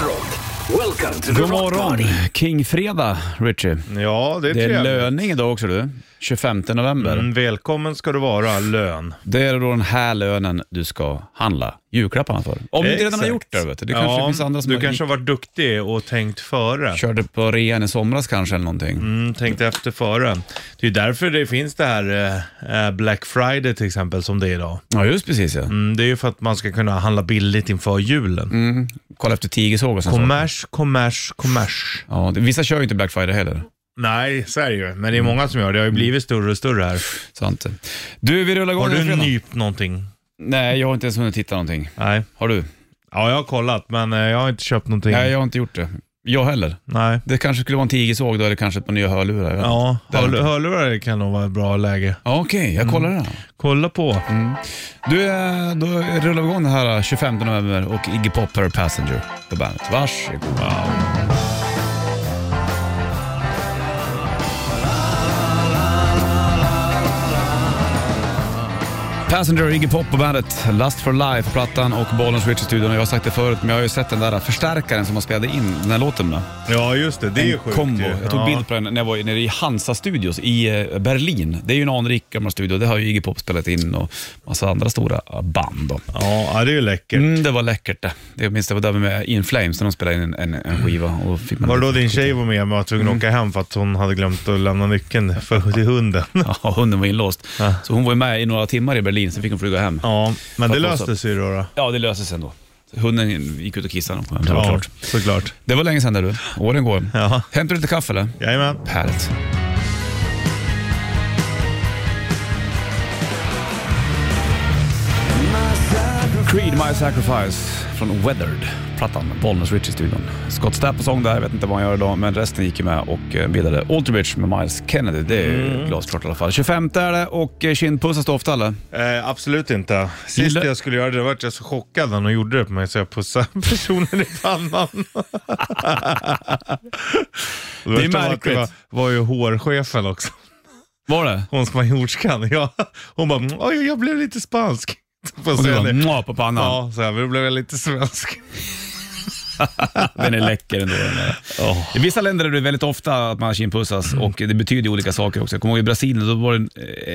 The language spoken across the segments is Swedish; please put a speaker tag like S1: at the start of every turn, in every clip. S1: rock. Welcome to the rock
S2: God morgon,
S1: party.
S2: Kingfredag, Richie.
S3: Ja, det är,
S2: Det är
S3: trevligt.
S2: löning idag också du, 25 november.
S3: Mm, välkommen ska du vara, lön.
S2: Det är då den här lönen du ska handla julklapparna för. Om du inte redan har gjort det, vet du. Det kanske
S3: ja,
S2: finns andra som
S3: Du
S2: har
S3: kanske har varit duktig och tänkt före.
S2: körde på rean i somras kanske eller någonting.
S3: Mm, tänkt efter före. Det är därför det finns det här eh, eh, Black Friday till exempel, som det är idag.
S2: Ja, just precis ja.
S3: Mm, det är ju för att man ska kunna handla billigt inför julen.
S2: Mm. Kolla efter tigersåg och sånt.
S3: Kommers, kommers, kommers.
S2: Ja, det- vissa kör ju inte Black Friday heller.
S3: Nej, så är det ju. Men det är många som gör det. Det har ju blivit större och större här.
S2: Sant. Du, vi rullar igång
S3: Mm. Har
S2: den
S3: du
S2: fredagen.
S3: nypt någonting?
S2: Nej, jag har inte ens hunnit titta någonting.
S3: Nej.
S2: Har du?
S3: Ja, jag har kollat, men eh, jag har inte köpt någonting.
S2: Nej, jag har inte gjort det. Jag heller.
S3: Nej.
S2: Det kanske skulle vara en tigersåg då, eller kanske ett par nya hörlurar. jag vet inte.
S3: Ja,
S2: Det har jag
S3: hör-
S2: inte.
S3: hörlurar kan nog vara ett bra läge.
S2: Ja, Okej, jag
S3: Mm.
S2: kollar det. här.
S3: Kolla på.
S2: Du, eh, då rullar vi igång den här eh, 25 november och Iggy Pop Per Passenger på bandet. Varsågod. Passenger och Iggy Pop på bandet. Lust for Life-plattan och Bollens Rich i studion. Jag har sagt det förut, men jag har ju sett den där förstärkaren som man spelade in den här låten med.
S3: Ja, just det. Det är ju sjukt
S2: Combo.
S3: ju.
S2: Jag tog
S3: ja.
S2: bild på den när jag var i- nere i Hansa Studios i eh, Berlin. Det är ju en anrik gammal studio. Det har ju Iggy Pop spelat in och massa andra stora eh, band. Då.
S3: Ja, ja, det är ju läckert.
S2: Mm, det var läckert det. det jag minns det var där med In Flames när de spelade in en, en, en skiva. Och fick man
S3: Var det då din tjej var med men var
S2: Mm.
S3: tvungen att åka hem för att hon hade glömt att lämna nyckeln för, till hunden?
S2: Ja, hunden var inlåst.
S3: Ja.
S2: Så hon var ju med i några timmar i Berlin, sen fick hon flyga hem.
S3: Ja, men
S2: För
S3: det
S2: att
S3: löste sig då. då.
S2: Ja, det löste sig ändå. Så Hunden gick ut och kissade när hon kom hem, det var
S3: Ja,
S2: klart.
S3: såklart.
S2: Det var länge sedan där du. Åren går.
S3: Ja.
S2: Hämtar du lite kaffe eller?
S3: Jajamän.
S2: Härligt. Creed My Sacrifice från Weathered, plattan, Bollnäs Rich i studion. Scott Stapp på sång där, jag vet inte vad han gör idag, men resten gick ju med och eh, bildade Alterbridge med Miles Kennedy. Det är ju glasklart i alla fall. 25 är det och eh, kindpussas du ofta eller?
S3: Eh, absolut inte. Sist
S2: Gillar-
S3: jag skulle göra det var jag så chockad när hon gjorde det på mig så jag pussade personen i pannan. det värsta var att
S2: märkligt.
S3: Det var, var ju hårchefen också.
S2: Var det?
S3: Hon som var jordskan. Jag, hon bara, "Mm, oj, jag blev lite spansk. Får
S2: Och du
S3: säga
S2: bara
S3: det.
S2: "Mwah" på pannan.
S3: Ja, så här, men då blev jag lite svensk.
S2: Den är läcker ändå. Den där. I vissa länder är det väldigt ofta att man kindpussas
S3: Mm.
S2: och det betyder ju olika saker också. Jag kommer ihåg i Brasilien, då var det en,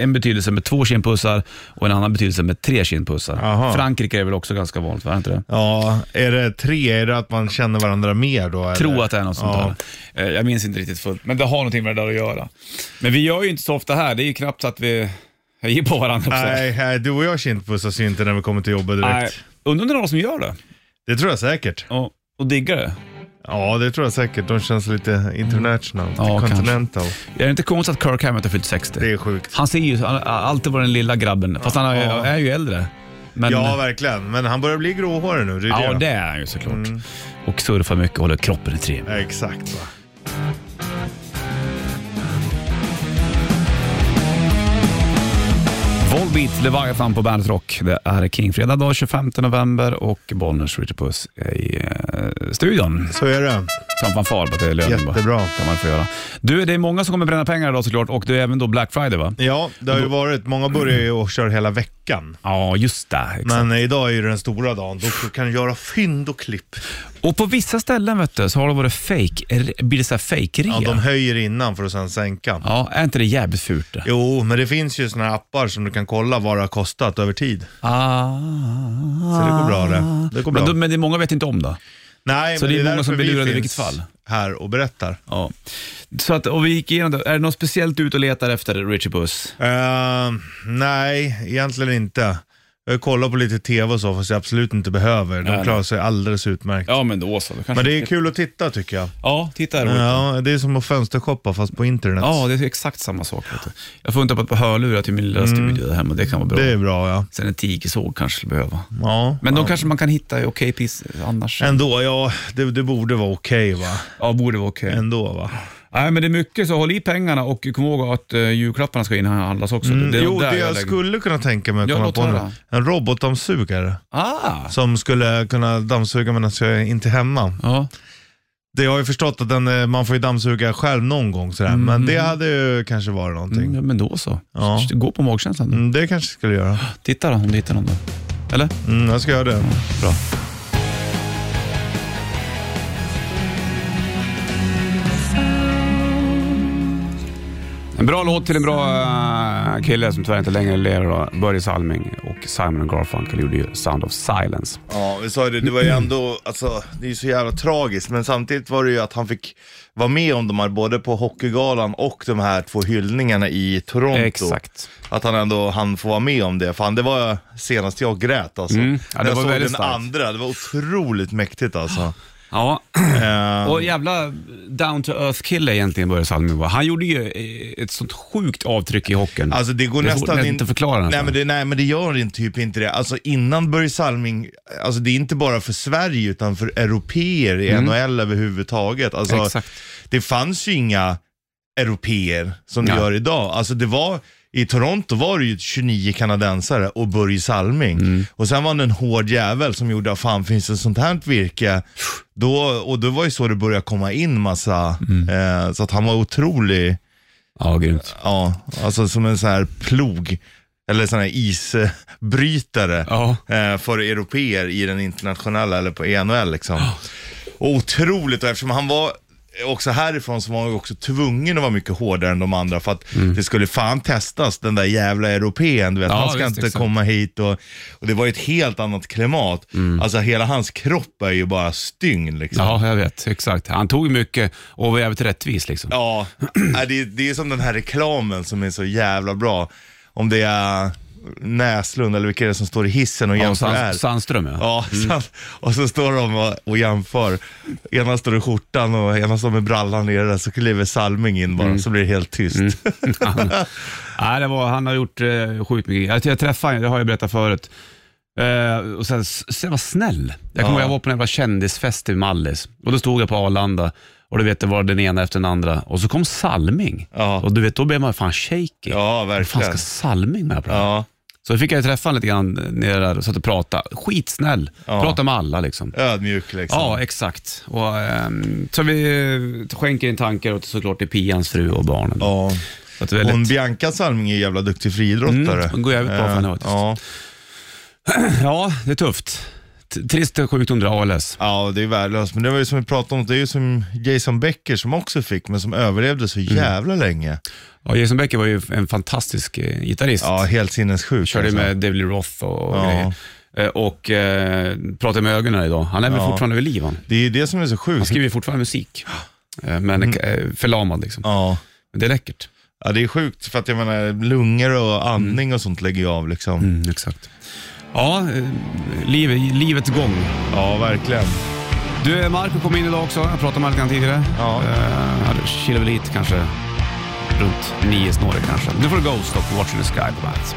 S2: en betydelse med två kindpussar och en annan betydelse med tre kindpussar.
S3: Aha.
S2: Frankrike är väl också ganska vanligt, var det inte det?
S3: Ja, är det tre? Är det att man känner varandra mer då? Eller?
S2: Tror att det är något sånt
S3: ja.
S2: där. Eh, Jag minns inte riktigt fullt, men det har någonting med det där att göra. Men vi gör ju inte så ofta här, det är ju knappt så att vi hejar på varandra.
S3: Nej, nej, du och jag kindpussas ju inte när vi kommer till jobbet direkt.
S2: Nej. Undrar om det är någon som gör det
S3: Det tror jag säkert.
S2: och, och diggar det.
S3: Ja, det tror jag säkert. De känns lite international, lite
S2: Ja, kanske.
S3: continental.
S2: Är det inte konstigt att Kirk Hammett har fyllt 60?
S3: Det är sjukt.
S2: Han ser ju han har alltid varit den lilla grabben, fast han är,
S3: Ja.
S2: är ju äldre. Men,
S3: Ja, verkligen. Men han börjar bli gråhårig nu. Det är
S2: Ja,
S3: det.
S2: det är han ju såklart.
S3: Mm.
S2: Och surfar mycket och håller kroppen i trim.
S3: Ja, Exakt. Va?
S2: Volbeat Leviathan på Bandet Rock. Det är Kingfredag dag 25 november och Bollnäs Richard Puss är i eh, studion.
S3: Så är det.
S2: Som fanfar på att det är lönen bara.
S3: Jättebra.
S2: kan man få göra. Du, det är många som kommer bränna pengar idag såklart och det är även då Black Friday va?
S3: Ja, det har ju varit. Många börjar ju och kör hela veckan.
S2: Ja, just det. Exakt.
S3: Men idag är ju den stora dagen. Då kan du göra fynd och klipp.
S2: Och på vissa ställen vet du, så har det varit fake, er- blir det så här fake
S3: Ja,
S2: rea.
S3: de höjer innan för att sen sänka.
S2: ja, är inte det jävligt fult det?
S3: Jo, men det finns ju såna här appar som du kan kolla vad det har kostat över tid.
S2: Ah.
S3: Så det går bra det. Det går bra.
S2: Men, de, men det är många vet inte om det.
S3: Nej,
S2: så
S3: men
S2: det är många
S3: därför
S2: som blir
S3: vi
S2: lurade i
S3: finns
S2: vilket fall.
S3: här och berättar.
S2: Ja. Så att, och vi gick igenom det. Är det något speciellt du ut och letar efter, Richie Puss?
S3: Eh, nej, egentligen inte. Jag kollar på lite tv och så, fast jag absolut inte behöver.
S2: Nej,
S3: De klarar sig alldeles utmärkt.
S2: Ja, men då så. Då kanske...
S3: Men det är kul att titta tycker jag.
S2: Ja, titta här. Ja.
S3: Ja, det är som att fönstershoppa fast på internet.
S2: ja, det är exakt samma sak. Vet du. Jag funderar på ett par hörlurar till min lilla studio där hemma. Det kan vara bra.
S3: Mm. Det är bra ja.
S2: Sen en tigersåg kanske skulle behöva.
S3: ja.
S2: Men de kanske man kan hitta i okej pris annars.
S3: Ändå, ja, det, det borde vara okej va?
S2: Ja, borde vara okej.
S3: Ändå va?
S2: Nej, men det är mycket, så håll i pengarna och kom ihåg att uh, julklapparna ska inhandlas också. Det är nog
S3: Mm. jo,
S2: där
S3: det jag,
S2: lägger-
S3: skulle kunna tänka mig att
S2: Ja,
S3: komma
S2: låt
S3: på
S2: höra.
S3: nu. En robotdammsugare
S2: Ah!
S3: som skulle kunna dammsuga medan jag är inte är hemma.
S2: Ja.
S3: Det jag har ju förstått att den, eh, man får ju dammsuga själv någon gång sådär, men det hade ju kanske varit någonting.
S2: Mm, ja, men då så.
S3: Ja.
S2: Så Gå på magkänslan.
S3: Mm, det kanske jag skulle göra.
S2: Titta då, om du hittar någon. Då. Eller?
S3: Mm, jag ska göra det.
S2: Bra. En bra låt till en bra eh, kille som tyvärr inte längre lever då. Börje Salming och Simon and Garfunkel gjorde ju Sound of Silence.
S3: Ja, vi sa ju det, det var ju ändå, alltså det är ju så jävla tragiskt, men samtidigt var det ju att han fick vara med om de här, både på Hockeygalan och de här två hyllningarna i Toronto.
S2: Exakt.
S3: Att han ändå han får vara med om det. Fan, det var senast jag grät alltså.
S2: Mm. Ja, det
S3: När
S2: var
S3: jag såg den
S2: väldigt starkt.
S3: andra, det var otroligt mäktigt alltså.
S2: Ja,
S3: Eh,
S2: och jävla down to earth kille egentligen Börje Salming var. Han gjorde ju eh, ett sånt sjukt avtryck i hockeyn.
S3: Alltså det går
S2: Det är svårt
S3: nästan
S2: nästan inte att förklara
S3: Nej
S2: nästan.
S3: men, det, nej men det gör inte typ inte det. Alltså innan Börje Salming, alltså det är inte bara för Sverige utan för europeer i NHL överhuvudtaget. Alltså,
S2: Mm. Exakt.
S3: Det fanns ju inga europeer som det
S2: Nej.
S3: gör idag. Alltså det var, i Toronto var det ju 29 kanadensare och Börje Salming.
S2: Mm.
S3: Och sen var han en hård jävel som gjorde, "Ah, fan finns det sånt här virke? Då, och det var ju så det började komma in massa,
S2: Mm.
S3: eh, så att han var otrolig.
S2: Ja, grymt.
S3: Ja, alltså som en sån här plog. Eller sån här isbrytare
S2: Ja.
S3: eh, för europeer i den internationella, eller på ENL liksom. Och otroligt, och eftersom han var också härifrån så var han ju också tvungen att vara mycket hårdare än de andra för att det skulle fan testas, den där jävla europeen. Du vet,
S2: Mm. Ja,
S3: han ska
S2: visst,
S3: inte
S2: exakt.
S3: komma hit och, och det var ju ett helt annat klimat.
S2: Mm.
S3: Alltså hela hans kropp är ju bara stygn liksom.
S2: Ja, jag vet. Exakt. Han tog mycket och var jävligt rättvis liksom.
S3: Ja, nej, det, är- det är som den här reklamen som är så jävla bra. Om det är Näslund eller vilka är det som står i hissen och
S2: Ja, Mm.
S3: jämför här.
S2: Sand, Sandström ja.
S3: Ja, sant. och så står de och, och jämför. Ena står i skjortan och ena står med brallan nere, så kliver Salming in
S2: Mm.
S3: bara, så blir det helt tyst.
S2: Nej, det var, han har gjort eh, sjukt mycket. Jag, jag träffade honom, det har jag berättat förut. Eh, och sen, sen var snäll. Jag kommer
S3: Ja.
S2: ihåg, jag var på en jävla kändisfest i Mallis och då stod jag på Arlanda och du vet, det var den ena efter den andra och så kom Salming.
S3: Ja.
S2: Och du vet, då blev man fan shaky.
S3: Ja,
S2: Vad fan ska
S3: verkligen.
S2: Salming med på det här?
S3: Ja,
S2: Så då fick jag ju träffa honom lite grann eh, nere där och satt och pratade. Skitsnäll.
S3: Ja.
S2: Prata med alla liksom.
S3: ödmjuk liksom.
S2: Ja, exakt. Och, ehm, så vi eh, skänker in tankar åt såklart till Pians fru och barnen.
S3: Ja.
S2: Så att det är väldigt...
S3: Hon Bianca Salming är jävla duktig friidrottare.
S2: Mm, hon går jävligt bra för henne
S3: Eh,
S2: faktiskt.
S3: ja.
S2: Ja, det är tufft. T- Trist sjukdom, det är ALS.
S3: Ja, det är värdelöst. Men det var ju som vi pratade om, det är ju som Jason Becker som också fick, men som överlevde så
S2: Mm.
S3: jävla länge.
S2: Ja, Jason Becker var ju en fantastisk eh, gitarrist.
S3: Ja, helt sinnessjuk.
S2: Körde
S3: alltså.
S2: med David Lee Roth och, och
S3: Ja.
S2: grejer. Eh, Och eh, pratade med ögonen idag. Han är väl
S3: Ja.
S2: fortfarande vid liv han.
S3: Det är ju det som är så
S2: Han
S3: sjukt.
S2: skriver ju fortfarande musik. Eh, Men eh, förlamad liksom.
S3: Mm. Ja.
S2: Men Det är läckert.
S3: ja, det är sjukt för att jag menar lungor och andning och sånt lägger ju av liksom.
S2: Mm, exakt. Ja, eh, liv, livets gång.
S3: Ja, verkligen.
S2: Du, eh, Marco kom in idag också. Jag pratade med honom lite grann tidigare.
S3: Ja.
S2: Eh, Han kilade väl hit kanske runt nio snåret kanske. Nu får du Ghost och Watching the Sky på bandet.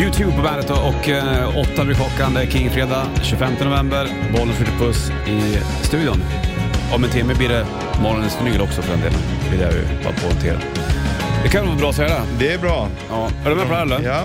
S2: YouTube på bandet då och eh, åtta blir klockan. Det är Kingfredag 25 november. Bollen skjuter puss i studion. Om en timme blir det morgonens vinyl också för den delen. Vill jag ju bara poängtera. Det kan vara bra att säga det.
S3: Det är bra.
S2: Ja. Är du med på det här eller?
S3: Ja.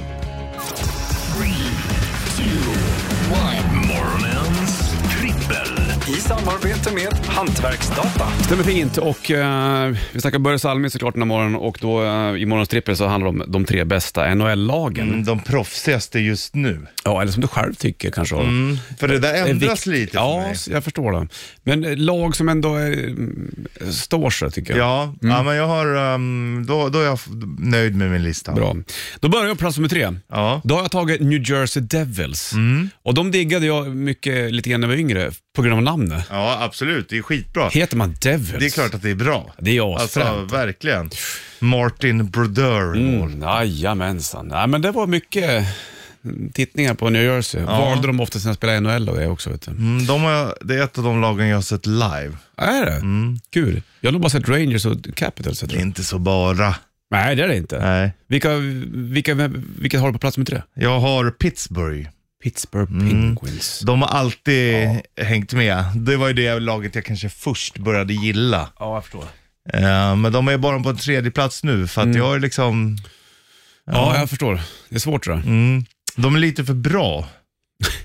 S4: Morgonens trippel.
S5: I samarbete med Hantverksdata.
S2: Stämmer fint och eh, vi snackar Börje Salming såklart den här morgonen och då eh, i morgons trippel så handlar det om de tre bästa NHL-lagen.
S3: Mm, De proffsigaste just nu.
S2: Ja, eller som du själv tycker kanske. Adam.
S3: Mm. För det där
S2: Det är
S3: ändras
S2: vikt-
S3: lite för
S2: Ja,
S3: mig.
S2: s- jag förstår det. Men eh, lag som ändå är, mm, står sig tycker jag.
S3: Ja, ja men jag har, ehm, då, då är jag f- nöjd med min lista.
S2: Bra. Då börjar jag på plats nummer tre.
S3: Ja.
S2: Då har jag tagit New Jersey Devils.
S3: Mm.
S2: Och de diggade jag mycket lite grann när jag var yngre på grund av namnet.
S3: ja, absolut. Det är skitbra.
S2: Heter man Devils?
S3: Det är klart att det är bra.
S2: Det är ju
S3: Alltså
S2: asfränt.
S3: verkligen. Martin Brodeur.
S2: Mm, jajamensan. Nej, men det var mycket mm, tittningar på New Jersey. Valde de ofta sina spelare i NHL och det också. Vet du.
S3: Mm, de har, jag- det är ett av de lagen jag har sett live.
S2: Är det? Kul. Jag har nog bara sett Rangers och Capitals. Jag
S3: Det är
S2: tror.
S3: inte så bara.
S2: Nej, det är det inte.
S3: Nej.
S2: Vilka, vilka, vilka har du på plats med tre?
S3: Jag har Pittsburgh.
S2: Pittsburgh Penguins.
S3: De har alltid hängt med. Det var ju det laget jag kanske först började gilla.
S2: Ja, jag förstår. Mm.
S3: Eh, men de är bara på en tredje plats nu för att jag är liksom,
S2: Ja, jag förstår. Det är svårt det där.
S3: mm, de är lite för bra.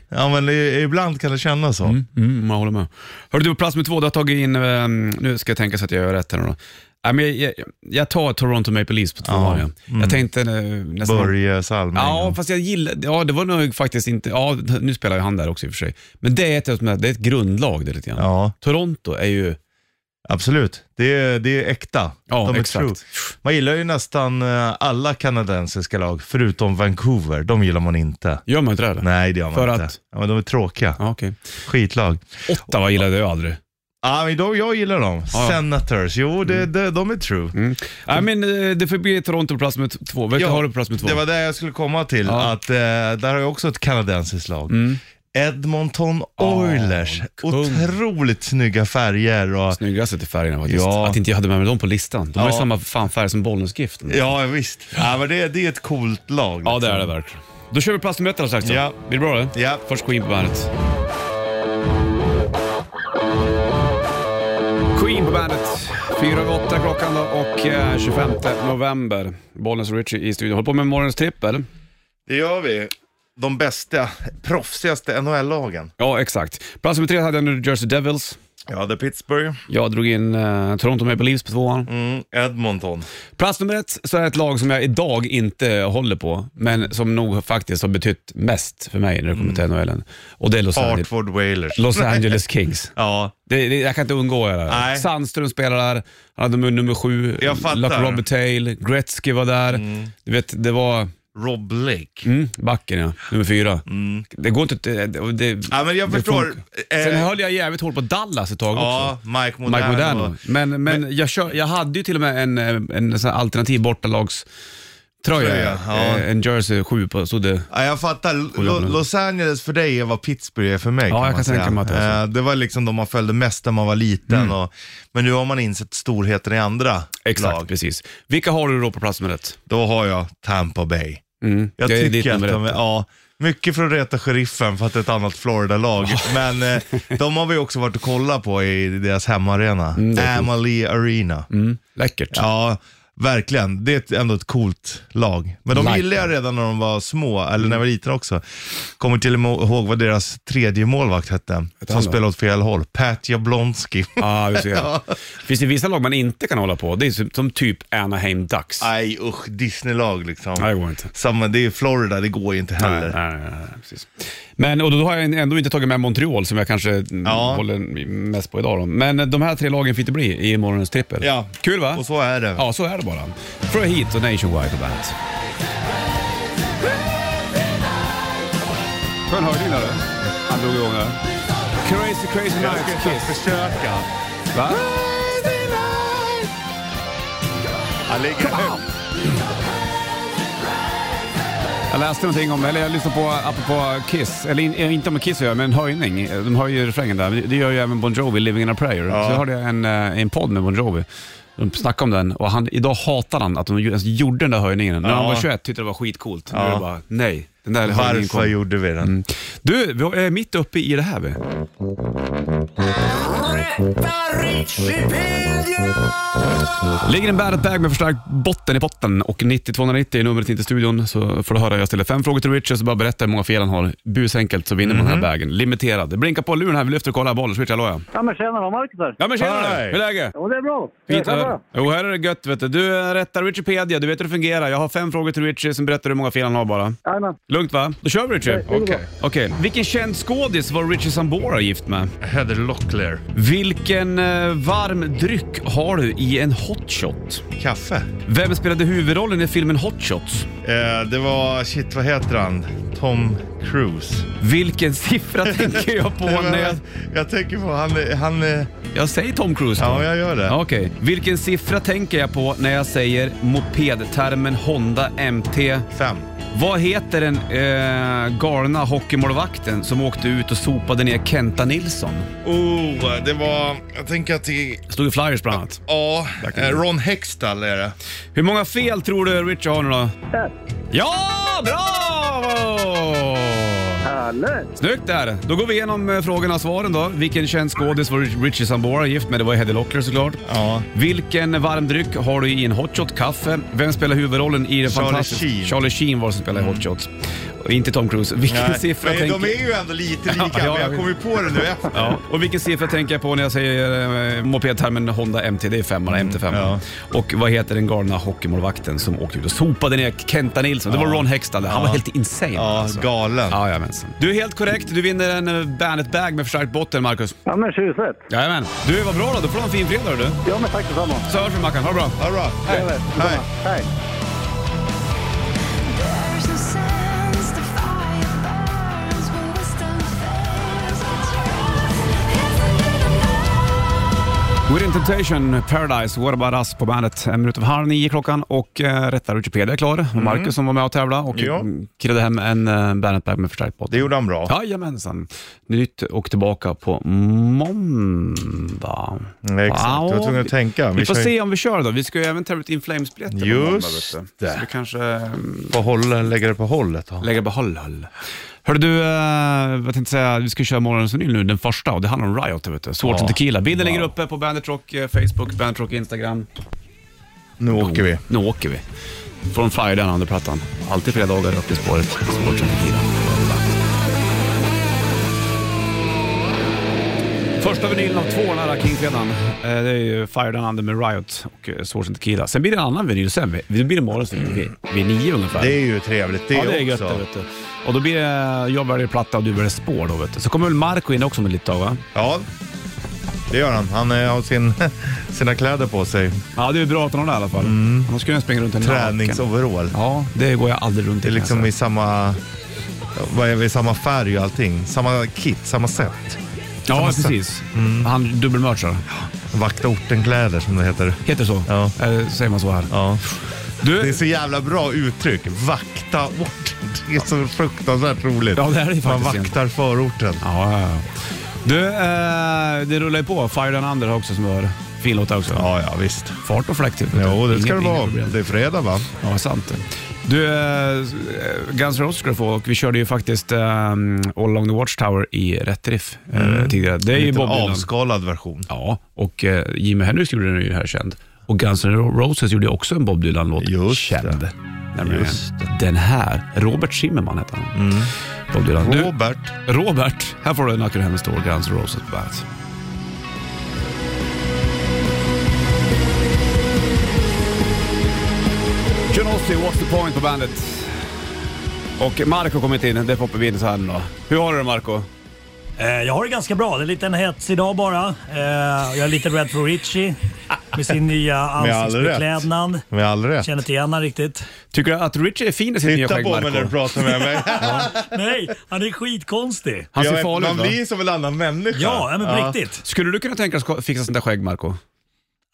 S3: ja men i- ibland kan det kännas så.
S2: Mm, mm, jag håller med. Hörru du, på plats med två, du har tagit in, ehm, nu ska jag tänka så att jag gör rätt här nu då. Ja, men jag, jag, jag tar Toronto Maple Leafs på två ja. Jag tänkte eh, nästan...
S3: Börje Salming.
S2: Ja, fast jag gillar... Ja, det var nog faktiskt inte... Ja, nu spelar ju han där också i och för sig. Men det är ett, det är ett grundlag det lite grann.
S3: Ja,
S2: Toronto är ju...
S3: absolut. Det är, det är äkta.
S2: Ja,
S3: De är
S2: exakt.
S3: true. Man gillar ju nästan eh, alla kanadensiska lag, förutom Vancouver. De gillar man inte.
S2: Gör man inte det eller?
S3: Nej, det gör man
S2: För
S3: inte.
S2: att-
S3: Ja, men de är tråkiga.
S2: Ja, okej.
S3: Skitlag.
S2: Ottawa gillade jag aldrig.
S3: Ja, men de, jag gillar dem.
S2: Ja.
S3: Senators. Jo, det, det, de är true.
S2: Nej, men eh, det får bli Toronto på plats med två. Vilka
S3: Ja,
S2: har du på plats med två?
S3: Det var det jag skulle komma till,
S2: Ja. Mm.
S3: att eh, där har jag också ett kanadensiskt lag. Edmonton Oilers.
S2: kung.
S3: Otroligt snygga färger och...
S2: Snyggaste till färgerna faktiskt.
S3: Ja.
S2: Att inte jag hade med mig dem på listan. De har ju
S3: Ja.
S2: samma fan färg som Bollnäs Gift.
S3: Ja, visst. Ja, men det, det är ett coolt lag.
S2: Ja, det
S3: liksom.
S2: är det verkligen. Då kör vi plats nummer ett alldeles strax. då.
S3: Ja.
S2: Blir det bra det?
S3: Ja.
S2: Först Queen på bandet. Queen på bandet. Fyra över åtta klockan då och eh, 25 november. Bollnäs och Richie i studion. Håller på med morgonens trippel.
S3: Det gör vi. De bästa, proffsigaste NHL-lagen.
S2: Ja, exakt. Plats nummer tre hade jag New Jersey Devils.
S3: Ja, det är Pittsburgh.
S2: Jag drog in eh, Toronto Maple Leafs på tvåan.
S3: Mm, Edmonton.
S2: Plats nummer ett så är ett lag som jag idag inte håller på, men som nog faktiskt har betytt mest för mig när det kommer till NHL. Och det är Los, Angeles,
S3: Hartford Whalers.
S2: Los Angeles Kings.
S3: Ja,
S2: Det, det, jag kan inte undgå det. där.
S3: Nej.
S2: Sandström spelar där, han hade nummer- nummer sju,
S3: Jag fattar. Mm.
S2: Robert Tail, Gretzky var där. Du vet, det var
S3: Rob Blake.
S2: mm, backen ja, nummer fyra. Det går inte... Det, det, det,
S3: Mm. Ja, men jag
S2: det
S3: förstår.
S2: funkar. Sen
S3: Eh,
S2: höll jag jävligt hårt på Dallas ett tag också.
S3: Ja, Mike Modano.
S2: Mike Modano. Men, men, jag, kör, jag hade ju till och med en, eh, en sån här alternativ bortalags
S3: Tröja,
S2: Tröja,
S3: ja.
S2: Eh, en jersey 7 på, stod det.
S3: Ja, jag fattar. Lo- Los Angeles för dig är vad Pittsburgh är för mig.
S2: Ja, jag
S3: man
S2: kan
S3: säga.
S2: tänka mig att det är så. Mm.
S3: Eh, Det var liksom de man följde mest när man var liten. Och, men nu har man insett storheten i andra
S2: Exakt,
S3: lag.
S2: precis. Vilka har du då på plats med rätt?
S3: Då har jag Tampa Bay.
S2: Mm.
S3: Jag
S2: det är ditt
S3: tycker att
S2: nummer
S3: de är,
S2: ett.
S3: ja, mycket för att reta sheriffen för att det är ett annat Florida-lag. Men eh, de har vi också varit och kollat på i deras hemmaarena. Amalie Arena.
S2: Mm. Läckert.
S3: Ja, verkligen. Det är ett- ändå ett coolt lag. Men
S2: Like
S3: de
S2: Mm.
S3: gillade jag redan när de var små, eller när jag var liten också. Kommer till och med ihåg vad deras tredje målvakt hette, som
S2: han då?
S3: spelade åt fel håll. Pat Jablonski.
S2: Ah, vi ser. Finns det vissa lag man inte kan hålla på? Det är som, som typ Anaheim Ducks.
S3: Nej usch, Disney-lag liksom.
S2: Nej, det går inte.
S3: Samma, det är Florida, det går ju inte heller.
S2: Nej, nej, nej, nej, precis. Men och då har jag ändå inte tagit med Montreal som jag kanske mm,
S3: Ja.
S2: håller mest på idag. Då. Men eh, de här tre lagen fick det bli i morgonens trippel.
S3: Ja.
S2: Kul va?
S3: Och så är det.
S2: Ja, så är det bara. Throw Heat och Nationwide på bandet. Skön höjning där du. Han drog igång där. Crazy crazy nights
S3: ska
S2: kiss.
S3: försöka.
S2: Va?
S3: Han ligger högt.
S2: Jag läste någonting om, eller jag lyssnade på, apropå Kiss, eller in, inte om Kiss att göra, men en höjning. De höjer ju refrängen där. Det gör ju även Bon Jovi, Living in a prayer. Så jag hörde en, eh, en podd med Bon Jovi. De snackade om den och han, idag hatar han att de ju- ens gjorde den där höjningen. När han var 21 tyckte det var skitcoolt. Nu är det bara, nej. Den där höjningen
S3: Varför
S2: kom.
S3: gjorde vi den?
S2: Mm. Du, vi är mitt uppe i det här vi. Ligger en bäret bag med förstärkt botten i botten och 9290 är numret in till studion så får du höra. Jag ställer fem frågor till Richard så bara berätta hur många fel han har. Busenkelt så vinner man
S3: Mhm.
S2: den här bagen. Limiterad. Det blinkar på luren här. Vi lyfter och kollar. Bollen, switch, hallå ja.
S6: Ja men tjena, vad Marcus här.
S2: Ja men tjena
S3: Hej.
S2: du! Hur är läget?
S6: Jo det är bra.
S2: Fint
S6: Själv
S2: att
S6: då?
S2: höra. Jo, här är det gött vet du. Du eh, rättar Wikipedia, du vet hur det fungerar. Jag har fem frågor till Richie, sen berättar du hur många fel han har bara.
S6: Jajamän.
S2: Lugnt va? Då kör vi Richie.
S6: det går bra.
S2: Okej. Vilken känd skådis var Richie Sambora gift med?
S3: Heather Locklear.
S2: Vilken eh, varm dryck har du i en hotshot?
S3: Kaffe.
S2: Vem spelade huvudrollen i filmen Hot Shots?
S3: Eh, det var, shit vad heter han? Tom Cruise.
S2: Vilken siffra tänker jag på
S3: Nej, men
S2: när jag...
S3: jag, jag tänker på, han, han, eh,
S2: Jag säger Tom Cruise då.
S3: ja jag gör det.
S2: Ja, Okej. Vilken siffra tänker jag på när jag säger mopedtermen Honda MT?
S3: Fem.
S2: Vad heter den eh, galna hockeymålvakten som åkte ut och sopade ner Kenta Nilsson?
S3: Oh, det var, jag tänker att det,
S2: Stod i Flyers bland annat.
S3: ja, eh, Ron Hextall är det.
S2: Hur många fel tror du Richard har nu då?
S6: Där.
S2: Ja, bra!
S6: Härligt.
S2: Snyggt där! Då går vi igenom eh, frågorna och svaren då. Vilken känd skådis var Rich- Richie Sambora gift med? Det var Heddy Locklear såklart.
S3: Ja.
S2: Vilken varm dryck har du i en hotshot kaffe? Vem spelar huvudrollen i den
S3: Charlie
S2: fantastiska...
S3: Sheen. Mm.
S2: Charlie Sheen var det som spelade i hotshots. Och inte Tom Cruise. Vilken
S3: Nej,
S2: siffra
S3: men
S2: tänker...
S3: de är ju ändå lite lika,
S2: Ja, ja,
S3: men jag
S2: vi-
S3: kommer ju på det nu efter.
S2: Ja, och vilken siffra tänker jag på när jag säger eh, mopedtermen Honda MT? Det är femman, MT5.
S3: ja.
S2: Och vad heter den galna hockeymålvakten som åkte ut och sopade ner Kenta Nilsson? Det var Ron Hextall. Han var helt insane. alltså.
S3: Alltså. Ja, galen.
S2: Jajamensan. Du är helt korrekt. Du vinner en eh, Bandet-bag med förstärkt botten, Marcus.
S6: Ja men tjusigt.
S2: Jajamän. Du, vad bra då. Då får du ha en fin fredag du.
S6: Ja men tack detsamma.
S2: Så hörs vi Mackan. Ha det bra.
S3: Ja, bra. Hej.
S6: Jag vet.
S3: Hej.
S6: Hej.
S7: There's no sense to fire burns when wisdom fails.
S2: Within Temptation, Paradise, What About Us på bandet. En minut över halv nio klockan och eh, rättare Wikipedia är klar. Och Marcus som var med och tävlade och
S3: Ja.
S2: ja. killade hem en eh, Bandet-bag med förstärkt botten.
S3: Det gjorde han bra.
S2: Jajamensan. Nytt och tillbaka på måndag.
S3: Nej, exakt.
S2: Ja,
S3: Jag var tvungen att tänka.
S2: Vi,
S3: Vi
S2: får
S3: kör-
S2: se om vi kör då. Vi ska ju även tävla ut In Flames-biljetter på
S3: Just
S2: måndag. vet du. Så vi kanske mm,
S3: På håll, lägger det på hållet. då.
S2: lägger behåll. håll. Hörru du, eh, vad tänkte jag säga, vi ska köra morgonens vinyl nu, den första, och det handlar om Riot. Vet du. Svårt som tequila. Bilden ligger uppe på Bandit Rock, eh, Facebook, Bandit Rock, Instagram.
S3: Nu åker vi.
S2: Nu åker vi. Från Friday, den andra plattan. Alltid fredagar upp i spåret. Svårt som tequila. Första vinylen av två den här King-fredagen. Eh, Det är ju Fire Down Under med Riot och eh, Swords and Tequila. Sen blir det en annan vinyl sen. Vi- Då blir det morgons vinyl vid, vid nio ungefär.
S3: Det är ju trevligt det,
S2: ja, det är gött det,
S3: också.
S2: vet du. Och då blir det, jag väljer platta och du väljer spår då vet du. Så kommer väl Marco in också med lite tag va?
S3: Ja, det gör han. Han eh, har sin, sina kläder på sig.
S2: Ja, det är bra att han har det i alla fall.
S3: Mm.
S2: Annars skulle jag springa runt i en naken.
S3: Träningsoverall.
S2: Ja, det går jag aldrig runt i.
S3: Det är
S2: kan jag säga.
S3: liksom i samma, vad är vi, samma färg och allting. Samma kit, samma sätt.
S2: Ja, precis. Mm. Han dubbelmerchar.
S3: Vakta orten-kläder som det heter.
S2: Heter så?
S3: Ja.
S2: Eh, säger man så här?
S3: Ja. Det är
S2: Du,
S3: så jävla bra uttryck. Vakta orten. Det är så fruktansvärt roligt.
S2: Ja, det är det faktiskt
S3: Man
S2: egentligen.
S3: vaktar förorten.
S2: ja, ja, ja. du eh, det rullar ju på. Fire and Under har också som hör. Fin låt också.
S3: Ja, ja visst.
S2: Fart och fläkt. typ, vet du.
S3: Jo, det ska
S2: Inga-
S3: det
S2: inga
S3: vara.
S2: problem.
S3: Det är fredag va?
S2: Ja, sant. det. Du, eh, Guns N' Roses ska du få och vi körde ju faktiskt eh, All Along the Watchtower i rätt riff eh, tidigare. Det är ju
S3: Mm. Lite
S2: Bob Dylan.
S3: avskalad version.
S2: Ja, och eh, Jimi Hendrix gjorde den ju här känd. Och Guns N' Roses gjorde ju också en Bob Dylan-låt
S3: Just
S2: känd.
S3: det.
S2: Nämligen
S3: Just Mm.
S2: Den här. Robert Zimmerman heter han. Bob Dylan. Du,
S3: Robert.
S2: Robert, här får du Knock Your Hand Store, Guns N' Roses på bandet. John Ossie, What's the point på bandet? Och Marco har kommit in, det poppar vi in så här nu då. Hur har du det Marco?
S8: Eh, Jag har det ganska bra. Det är en liten hets idag bara. Eh, Jag är lite rädd för Richie med sin nya
S3: Med all rätt.
S8: ansiktsbeklädnad.
S3: Med all rätt.
S8: Känner inte igen honom riktigt.
S2: Tycker du att Richie är fin i sitt nya
S3: Titta
S2: skägg
S3: på mig när du
S2: Marco?
S3: pratar med mig.
S8: Nej, han är skitkonstig.
S2: Han
S3: Jag
S2: ser
S3: vet,
S2: farlig ut
S3: Man
S2: va?
S3: blir som en annan människa.
S8: Ja, ja, men på riktigt.
S2: Skulle du kunna tänka dig att fixa sånt där skägg, Marco?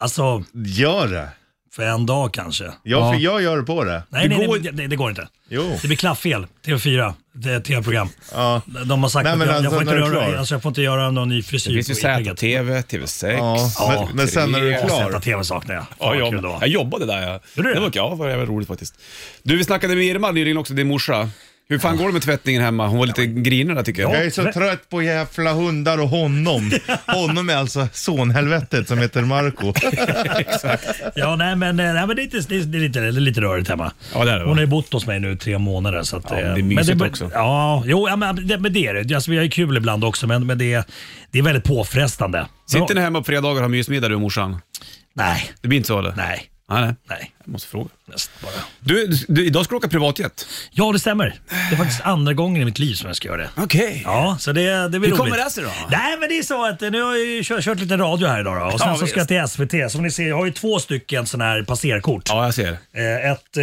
S8: Alltså,
S3: Gör det.
S8: för en dag kanske.
S3: Jag,
S2: Ja.
S3: för jag gör det på det.
S8: Nej,
S2: Det
S8: nej,
S2: går-
S8: nej, nej, det går inte.
S3: Jo.
S8: Det blir klafffel. TV4, det är ett tv-program.
S3: Ja.
S8: De har sagt
S3: Nej,
S8: att
S3: men
S8: jag,
S3: alltså,
S8: jag, får inte
S3: när du är
S8: röra,
S3: klar.
S8: alltså, jag får inte göra någon ny frisyr.
S2: Det finns ju
S8: på inlägget.
S2: ZTV, TV6.
S3: Ja,
S8: Ja,
S3: men, men sen när du är
S2: tre.
S3: klar.
S8: ZTV saknar jag. Fan,
S2: Ja,
S8: vad
S2: jag,
S8: kul det
S2: jobb,
S8: var.
S2: jag jobbade där. Ja.
S8: Gjorde
S2: det
S8: du det?
S2: var, ja, det var jävligt roligt faktiskt. Du, vi snackade med Irma nyligen också, din morsa. Hur fan går det med tvättningen hemma? Hon var lite grinig där tycker jag.
S3: Jag är så trött på jävla hundar och honom. Honom är alltså sonhelvetet som heter Marco.
S8: Ja, nej men, eh, nej, men det, är inte, det, är, det, är lite, det är lite rörigt hemma.
S2: Ja, det är det, va?
S8: Hon har ju bott hos mig nu i tre månader. Så att,
S2: Ja,
S8: eh,
S2: det är mysigt
S8: men
S2: också.
S8: Ja, jo, ja, men, det, men det är det. Alltså, vi har ju kul ibland också, men, men det, är- det är väldigt påfrestande.
S2: Sitter ni
S8: Ja,
S2: hemma på fredagar och har mysmiddag du och morsan?
S8: Nej,
S2: Det blir inte så eller?
S8: nej,
S2: Nej, nej.
S8: nej.
S2: Jag måste fråga.
S8: Mest bara.
S2: Du, du idag ska du åka privatjet.
S8: Ja, det stämmer. Det är faktiskt andra gången i mitt liv som jag ska göra det.
S2: Okej.
S8: Ja, så det, det blir
S2: Hur
S8: roligt.
S2: kommer det sig då?
S8: Nej, men det är så att eh, nu har jag ju kört, kört lite radio här idag då, och sen
S2: Ja,
S8: så ska jag till SVT. Som ni ser, jag har ju två stycken sådana här passerkort.
S2: Ja, jag ser.
S8: Eh, Ett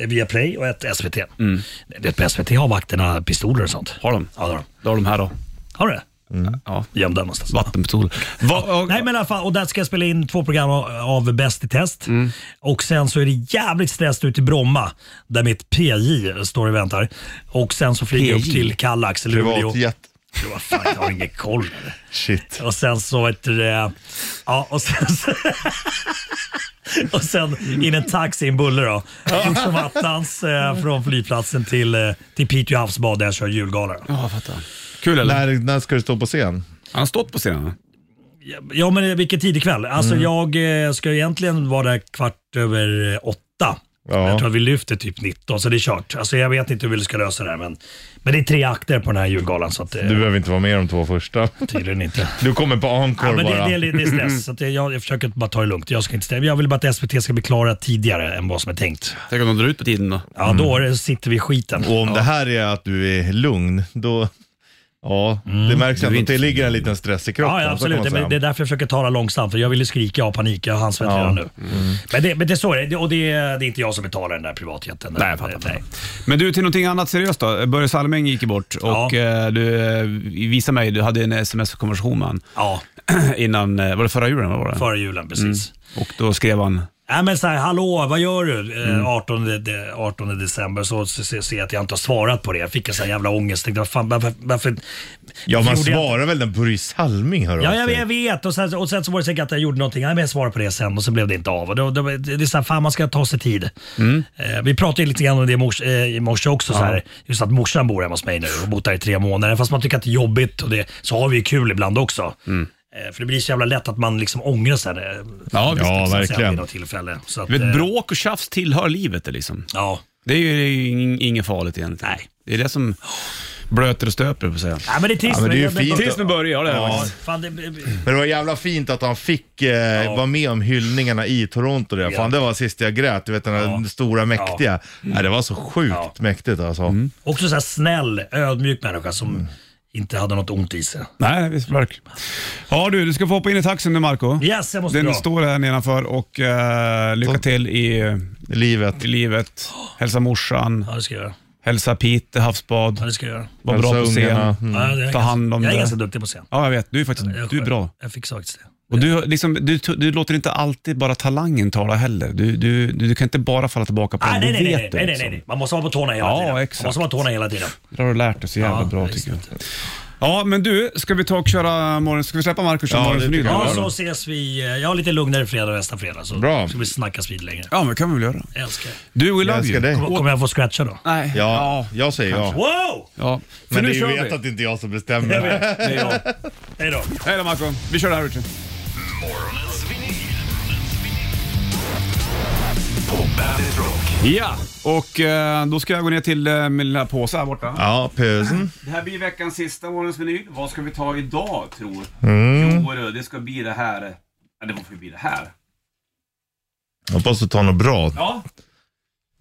S8: eh, via Play och ett SVT. Det på SVT har vakterna pistoler och sånt.
S2: Mm. Har de?
S8: Ja, det har de.
S2: Då har de här då.
S8: Har du det?
S2: Ja.
S8: Gömda någonstans.
S2: Vattenpistoler. Va,
S8: Nej men i alla fall, och där ska jag spela in två program av- av Bäst i test.
S2: Mm.
S8: Och sen så är det jävligt stressigt ut i Bromma, där mitt PJ står och väntar. Och sen så flyger jag upp
S2: PJ?
S8: till Kallax, Luleå.
S3: Privatjet.
S8: Jo, vad fan, Jag har ingen koll.
S3: Shit.
S8: Och sen så ett... eh, Ja, och sen så... Och sen in en taxi i en bulle då. Gjort som attans eh, från flygplatsen till, eh, till Piteå havsbad där jag kör julgala. då.
S2: Ja, jag fattar. Kul eller?
S3: När, när ska du stå på scen?
S2: Han har stått på scenen. va?
S8: Ja men eh, vilken tidig kväll. Alltså jag eh, ska egentligen vara där kvart över eh, åtta.
S3: Ja.
S8: Jag tror att vi lyfter typ 19, så det är kört. Alltså, jag vet inte hur vi ska lösa det här, men, men det är tre akter på den här julgalan, så att, eh,
S3: Du behöver inte vara med de två första.
S8: tydligen inte.
S3: Du kommer på encore
S8: Ja, men
S3: bara.
S8: det, det, det är stress, så att jag, jag försöker bara ta det lugnt. Jag, ska inte ställa. jag vill bara att SVT ska bli klara tidigare än vad som är tänkt.
S2: Tänk om de drar ut på tiden då.
S8: Ja, då är det- sitter vi i skiten.
S3: Mm. Och om det här är att du är lugn, då... Ja, det märks ändå att
S2: inte-
S3: det ligger en liten stress i kroppen.
S8: Mm. Ja, ja
S3: så kan
S8: absolut.
S3: man
S8: Det,
S3: säga.
S8: det är därför jag försöker tala långsamt, för jag ville skrika av panik. Jag har handsvett redan nu.
S3: Mm.
S8: Men, det, men det är så det är. Och det, är- det är inte jag som betalar den där privatjätten. Eh,
S2: Nej, jag fattar. fattar. Men du, till någonting annat seriöst då. Börje Salming gick ju bort
S8: Ja.
S2: och eh, du eh, visade mig, du hade en sms-konversation med honom
S8: Ja,
S2: innan, eh, var det förra julen? Vad var det?
S8: före julen precis.
S3: Mm.
S2: Och då skrev han,
S8: Nej men så här, hallå vad gör du?
S3: Mm.
S8: Eh, 18, de- 18 december så ser se, se att jag inte har svarat på det. Jag fick en sån här jävla ångest. Tänkte, vad fan, varför, varför?
S3: ja, man
S8: gjorde jag-
S3: svarar väl den Boris Salming hör
S8: Ja,
S3: av
S8: jag,
S3: sig.
S8: jag vet. Och sen, och sen så var det säkert att jag gjorde någonting. Nej, men jag svarade på det sen och så blev det inte av. Och då, då, det är så här, fan man ska ta sig tid.
S3: Mm.
S8: Eh, vi pratade ju lite grann om det i mors, eh, i morse också. Så här, just att morsan bor hemma hos mig nu och bott där i tre månader. Fast man tycker att det är jobbigt och det, så har vi ju kul ibland också. Eh, för det blir så jävla lätt att man liksom ångrar sig. eh,
S2: ja, visst.
S3: Mm. Ja,
S8: så att säga,
S3: verkligen.
S8: Vid något tillfälle. Så att,
S2: Du
S8: eh,
S2: vet, bråk och tjafs tillhör livet det liksom.
S8: Ja.
S2: Det är ju ing- inget farligt egentligen.
S8: Nej.
S2: Det är det som blöter och stöper på att säga.
S8: Ja, men det är trist.
S3: Ja, men det är ju
S8: men-
S3: fint.
S2: Tills med Börje, ja det är det
S8: Ja,
S2: faktiskt.
S8: fan, det,
S3: Men det var jävla fint att han fick eh, vara med om hyllningarna i Toronto. Där. Fan, det var sist jag grät. Du vet den där
S8: Ja. Mm.
S3: stora mäktiga. Nej, det var så sjukt
S8: Ja.
S3: mäktigt alltså.
S8: också så här snäll, ödmjuk människa som
S3: Mm.
S8: inte hade något ont i sig.
S2: Nej, visst verkligen. Ja du, du ska få hoppa in i taxin nu Marco.
S8: Yes, jag måste
S2: Den
S8: dra.
S2: står här nedanför och eh, lycka till i,
S3: Livet.
S2: i livet. Hälsa morsan,
S8: Ja, det ska jag göra.
S2: hälsa Pete, havsbad,
S8: Ja, det ska jag göra.
S2: var bra på
S3: Hälsa ungarna. Mm.
S2: scen.
S8: Ja, jag är
S2: Mm. Ta hand om
S8: ganska, Jag är
S2: det.
S8: ganska duktig på scen.
S2: Ja, jag vet. Du är faktiskt
S8: Jag-
S2: du är bra.
S8: Jag fick faktiskt det.
S2: Och du, liksom, du, du låter inte alltid bara talangen tala heller. Du, du, du, du kan inte bara falla tillbaka på
S8: Ah,
S2: den. Det
S8: nej, nej, nej,
S2: vet
S8: nej,
S2: du,
S8: nej, nej,
S2: liksom.
S8: nej. Man måste vara på tårna hela
S2: Ja,
S8: tiden.
S2: exakt.
S8: Man måste vara på tårna hela tiden.
S2: Det har du lärt dig så jävla
S8: Ja,
S2: bra
S8: visst.
S2: tycker jag. Ja, men du, ska vi ta och köra morgon... Ska vi släppa Marcus och
S3: Ja,
S2: ja, morgon
S3: det
S2: för
S3: tycker
S8: Ja,
S3: bra
S8: så
S3: då.
S8: ses vi. eh, Jag har lite lugnare fredag nästa fredag. Så
S3: Bra.
S8: ska vi snackas vid längre.
S2: Ja, men det kan vi väl göra.
S8: Jag älskar det.
S2: Du, we
S3: Jag
S2: love
S3: älskar
S2: you.
S3: dig.
S8: Kommer- Kommer jag få scratcha då?
S2: Nej.
S3: Ja, jag säger ja.
S8: Wow!
S2: ja. För
S3: Men
S2: nu
S3: det är ju
S2: kör
S3: vet
S2: vi.
S3: att det inte är jag som bestämmer.
S8: Jag vet.
S2: Det är jag.
S8: Hej då.
S2: Hej då Marco. Vi kör det här Richard.
S4: Morgonens vinyl.
S2: Ja, och eh, då ska jag gå ner till eh, min lilla påse här borta.
S3: Ja, pösen.
S2: Det här blir veckans sista morgons vinyl. Vad ska vi ta idag tror? Jo du, det ska bli det här. Ja, det måste bli det här.
S3: Hoppas du tar något bra.
S2: Ja.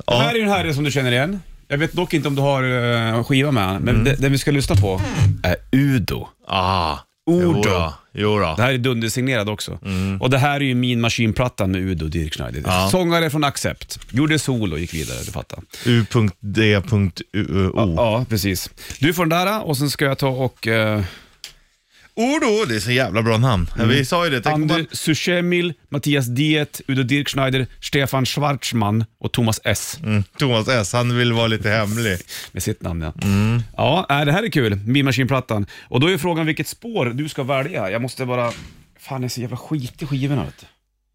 S3: Ja.
S2: Det här är ju den här som du känner igen. Jag vet dock inte om du har eh, skiva med, men det- den vi ska lyssna på är Udo.
S3: Ah,
S2: Udo.
S3: jodå. Jodå.
S2: Det här är dundersignerad också. Och det här är ju Min Maskinplattan med Udo Dirk Schneider.
S3: Mm. Ja. Oh.
S2: Sångare från Accept. Gjorde solo och gick vidare, du fattar.
S3: U.D.O.
S2: Ja, precis. Du får den där och sen ska jag ta och... Eh,
S3: Udo, det är så jävla bra namn.
S2: Mm.
S3: Vi sa ju det. Tänk om
S2: Ander
S3: man-
S2: Sushemil, Mattias Diet, Udo Dirk Schneider, Stefan Schwarzman och Thomas S.
S3: Mm, Thomas S, han vill vara lite hemlig.
S2: Med sitt namn ja.
S3: Mm.
S2: Ja, äh, det här är kul. Min Machine-plattan. Och då är frågan vilket spår du ska välja. Jag måste bara... Fan, det är så jävla skit i skivorna vet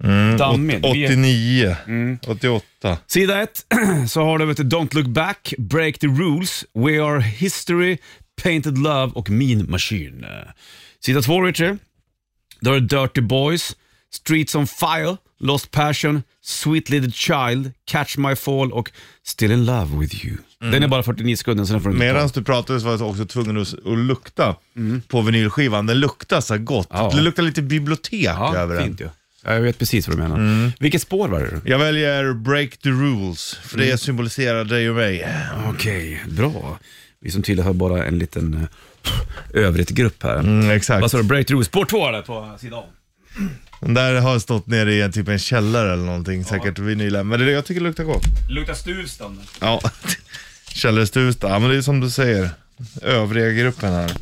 S2: du.
S3: Mm,
S2: Dammigt. Vi är-
S3: 89,
S2: Mm.
S3: 88.
S2: Sida 1 så har du vet, du, Don't Look Back, Break the Rules, We Are History, Painted Love och Mean Machine. Sida 2 Richard, då har du Dirty Boys, Streets on Fire, Lost Passion, Sweet Little Child, Catch My Fall och Still in Love with You. Den är bara 49 sekunder, sen får du
S3: Medan du pratade så var jag också tvungen att, att lukta på vinylskivan. Den luktar så här gott.
S2: Mm. Ja.
S3: Det luktar lite bibliotek över
S2: ja,
S3: den.
S2: fint ju. Ja, jag vet precis vad du menar. Vilket spår var det?
S3: Jag väljer Break the Rules, för
S2: Mm.
S3: det symboliserar dig och mig.
S2: Okej, bra. Vi som tillhör bara en liten eh, övrigt grupp här.
S3: Mm, exakt.
S2: Vad sa du? Break the Rules, spår 2 där på sidan om.
S3: Den där har stått nere i en, typ en källare eller någonting, säkert vinylen. Men det, är det jag tycker luktar gott.
S2: Luktar stuvst om den.
S3: Ja, Källarstusta. Ja, men det är som du säger. Övriga gruppen här.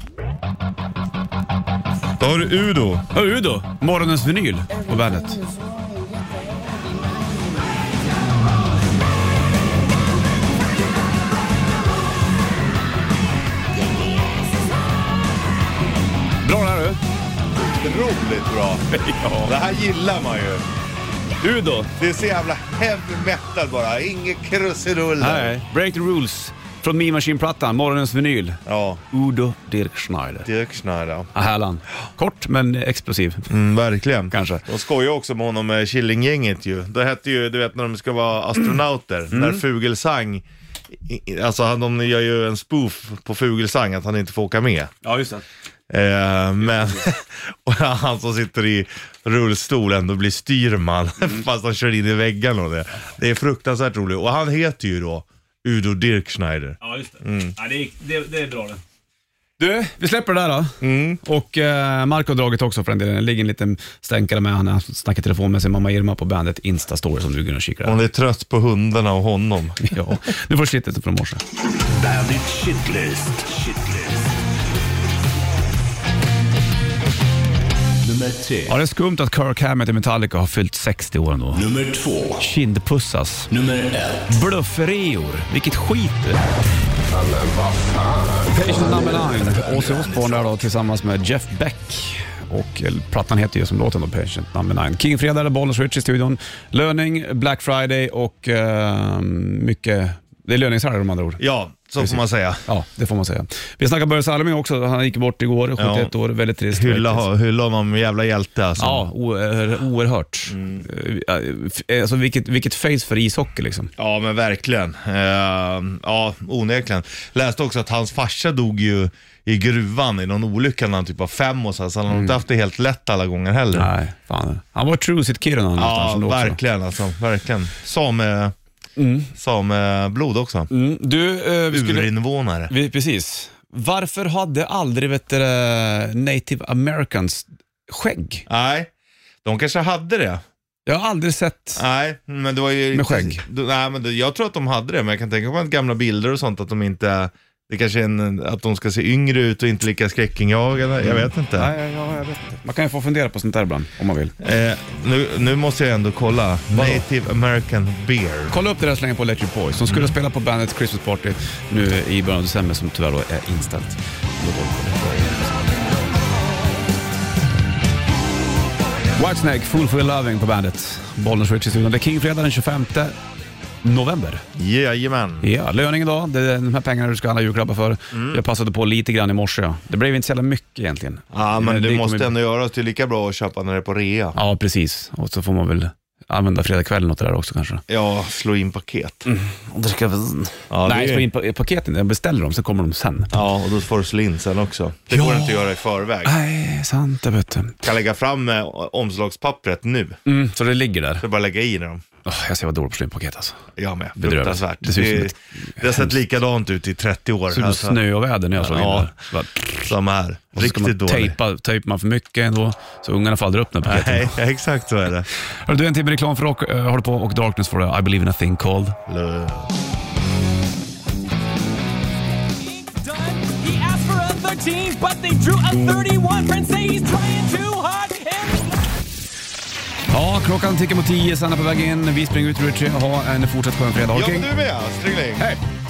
S3: Då har du Udo.
S2: Hör du då? Morgonens vinyl på bandet. Bra det här
S3: Otroligt bra. Det här gillar man ju.
S2: du. Udo.
S3: Det är så jävla heavy metal bara. Inget krusiduller.
S2: Nej. Break the rules. Från Me Machine-plattan, morgonens vinyl.
S3: Ja,
S2: Udo Dirk Schneider.
S3: Dirk Schneider.
S2: Ah, Härlan. Kort men explosiv,
S3: Mm, verkligen.
S2: kanske.
S3: De skojar också med honom med Killinggänget ju. Det hette ju, du vet när de ska vara astronauter, när Fugelsang, i- i- alltså han- de gör ju en spoof på Fugelsang att han inte får åka med.
S2: Ja, just det.
S3: Eh, men, och han som sitter i rullstol ändå blir styrman fast han kör in i väggen och det. Det är fruktansvärt roligt. Och han heter ju då Udo Dirk Schneider.
S2: Ja, just det. Ja, det, det, är bra det. Du, vi släpper det där då.
S3: Mm.
S2: Och eh, Marco-draget också för den delen. Det ligger en liten stänkare med. Han snackar i telefon med sin mamma Irma på bandet Instastory som du kan kika där.
S3: Hon är trött på hundarna och honom.
S2: Ja, du får shitet från morse.
S4: Bandit Shitlist. Shitlist. Nummer tre.
S2: Ja, det är skumt att Kirk Hammett i Metallica har fyllt 60 år ändå.
S4: Nummer två.
S2: Kindpussas.
S4: Nummer ett.
S2: Bluffreor. Vilket skit du. Patient number nine. Ozzy Osbourne där då tillsammans med Jeff Beck. Och eh, plattan heter ju som låten då, Patient number nine. Kingfredag, där Bollnäs Rich i studion. Löning, Black Friday och eh, mycket... Det är löningshelg med andra ord.
S3: Ja, så får man säga.
S2: Ja, det får man säga. Vi snackade Börje Salming också. Han gick bort igår, 71 år. Väldigt trist.
S3: Hylla,
S2: Väldigt trist.
S3: hylla honom, jävla hjälte alltså.
S2: Ja, oer- oerhört. Mm. Alltså, vilket, vilket face för ishockey liksom.
S3: Ja, men verkligen. Eh, ja, onekligen. Läste också att hans farsa dog ju i gruvan i någon olycka när han typ var fem och så, här, så han har inte haft det helt lätt alla gånger heller.
S2: Mm. Nej, fan. Han var true sitt Kiruna
S3: ja,
S2: någonstans ändå också.
S3: verkligen alltså. Verkligen. eh, Same, sameblod eh, också.
S2: Mm, du, eh, vi skulle...
S3: Urinvånare.
S2: Vi, precis. Varför hade aldrig vet du, det, native americans skägg?
S3: Nej, de kanske hade det.
S2: Jag har aldrig sett...
S3: Nej, men det var ju...
S2: Med skägg?
S3: Du- Nej, men det, jag tror att de hade det, men jag kan tänka mig att gamla bilder och sånt, att de inte... Det kanske är en, att de ska se yngre ut och inte lika skräckinjagande. Jag vet inte.
S2: Nej, jag, jag vet inte. Man kan ju få fundera på sånt där ibland, om man vill.
S3: Eh, nu, nu måste jag ändå kolla. Native American Beer.
S2: Kolla upp det där så länge på Electric Boys. De skulle
S3: Mm.
S2: spela på bandet Christmas Party nu i början av december som tyvärr då är inställt. Whitesnake, Fool for your loving på bandet. Bollnäs Rich i studion. Det är Kingfredag den 25 november.
S3: Jajamän.
S2: Ja, löning idag. Det är de här pengarna du ska handla julklappar för.
S3: Mm.
S2: Jag passade på lite grann i morse. Ja. Det blev inte så jävla mycket egentligen. Eh,
S3: Ja, men
S2: Det
S3: det
S2: kommer-
S3: måste ändå göras. Det är lika bra att köpa när det är på rea.
S2: Ja, precis. Och så får man väl använda fredagskvällen åt det där också kanske.
S3: Ja, slå in paket.
S2: Mm. Ja, Nej,
S3: det är-
S2: slå in pa- paketen. Jag beställer dem, så kommer de sen.
S3: Ja, och då får du slå in sen också. Det
S2: Ja.
S3: går inte att göra i förväg.
S2: Nej, sant det vet du.
S3: kan lägga fram eh, omslagspappret nu.
S2: Mm, så det ligger där.
S3: Det är bara att lägga i dem.
S2: Åh, jag ser vad dålig på slimpaket alltså.
S3: Jag med.
S2: Bedrövligt.
S3: Fruktansvärt.
S2: Det ser ut som
S3: Det,
S2: ett-
S3: det har sett likadant ut i 30 år.
S2: Såg du
S3: alltså.
S2: snö och väder när jag slog in
S3: Ja.
S2: där? Bara-
S3: Som är.
S2: Och så ska man
S3: Riktigt dålig.
S2: tejpa, tejpar man för mycket ändå, så ungarna faller upp när paketen
S3: Nej, exakt så är det.
S2: Hörru du, en timme reklam för rock, eh, håller på och Darkness får det. I believe in a thing called.
S3: Lö-
S6: done. He asked for a 13, but they drew a 31. Friends say he's trying too hard. And
S2: Ja, klockan tickar mot tio, Sanna på väg in. Vi springer ut Richie. Ha en fortsatt skön fredag. Håll
S3: Ja, men
S2: kring.
S3: du är med, Stringling.
S2: Hej!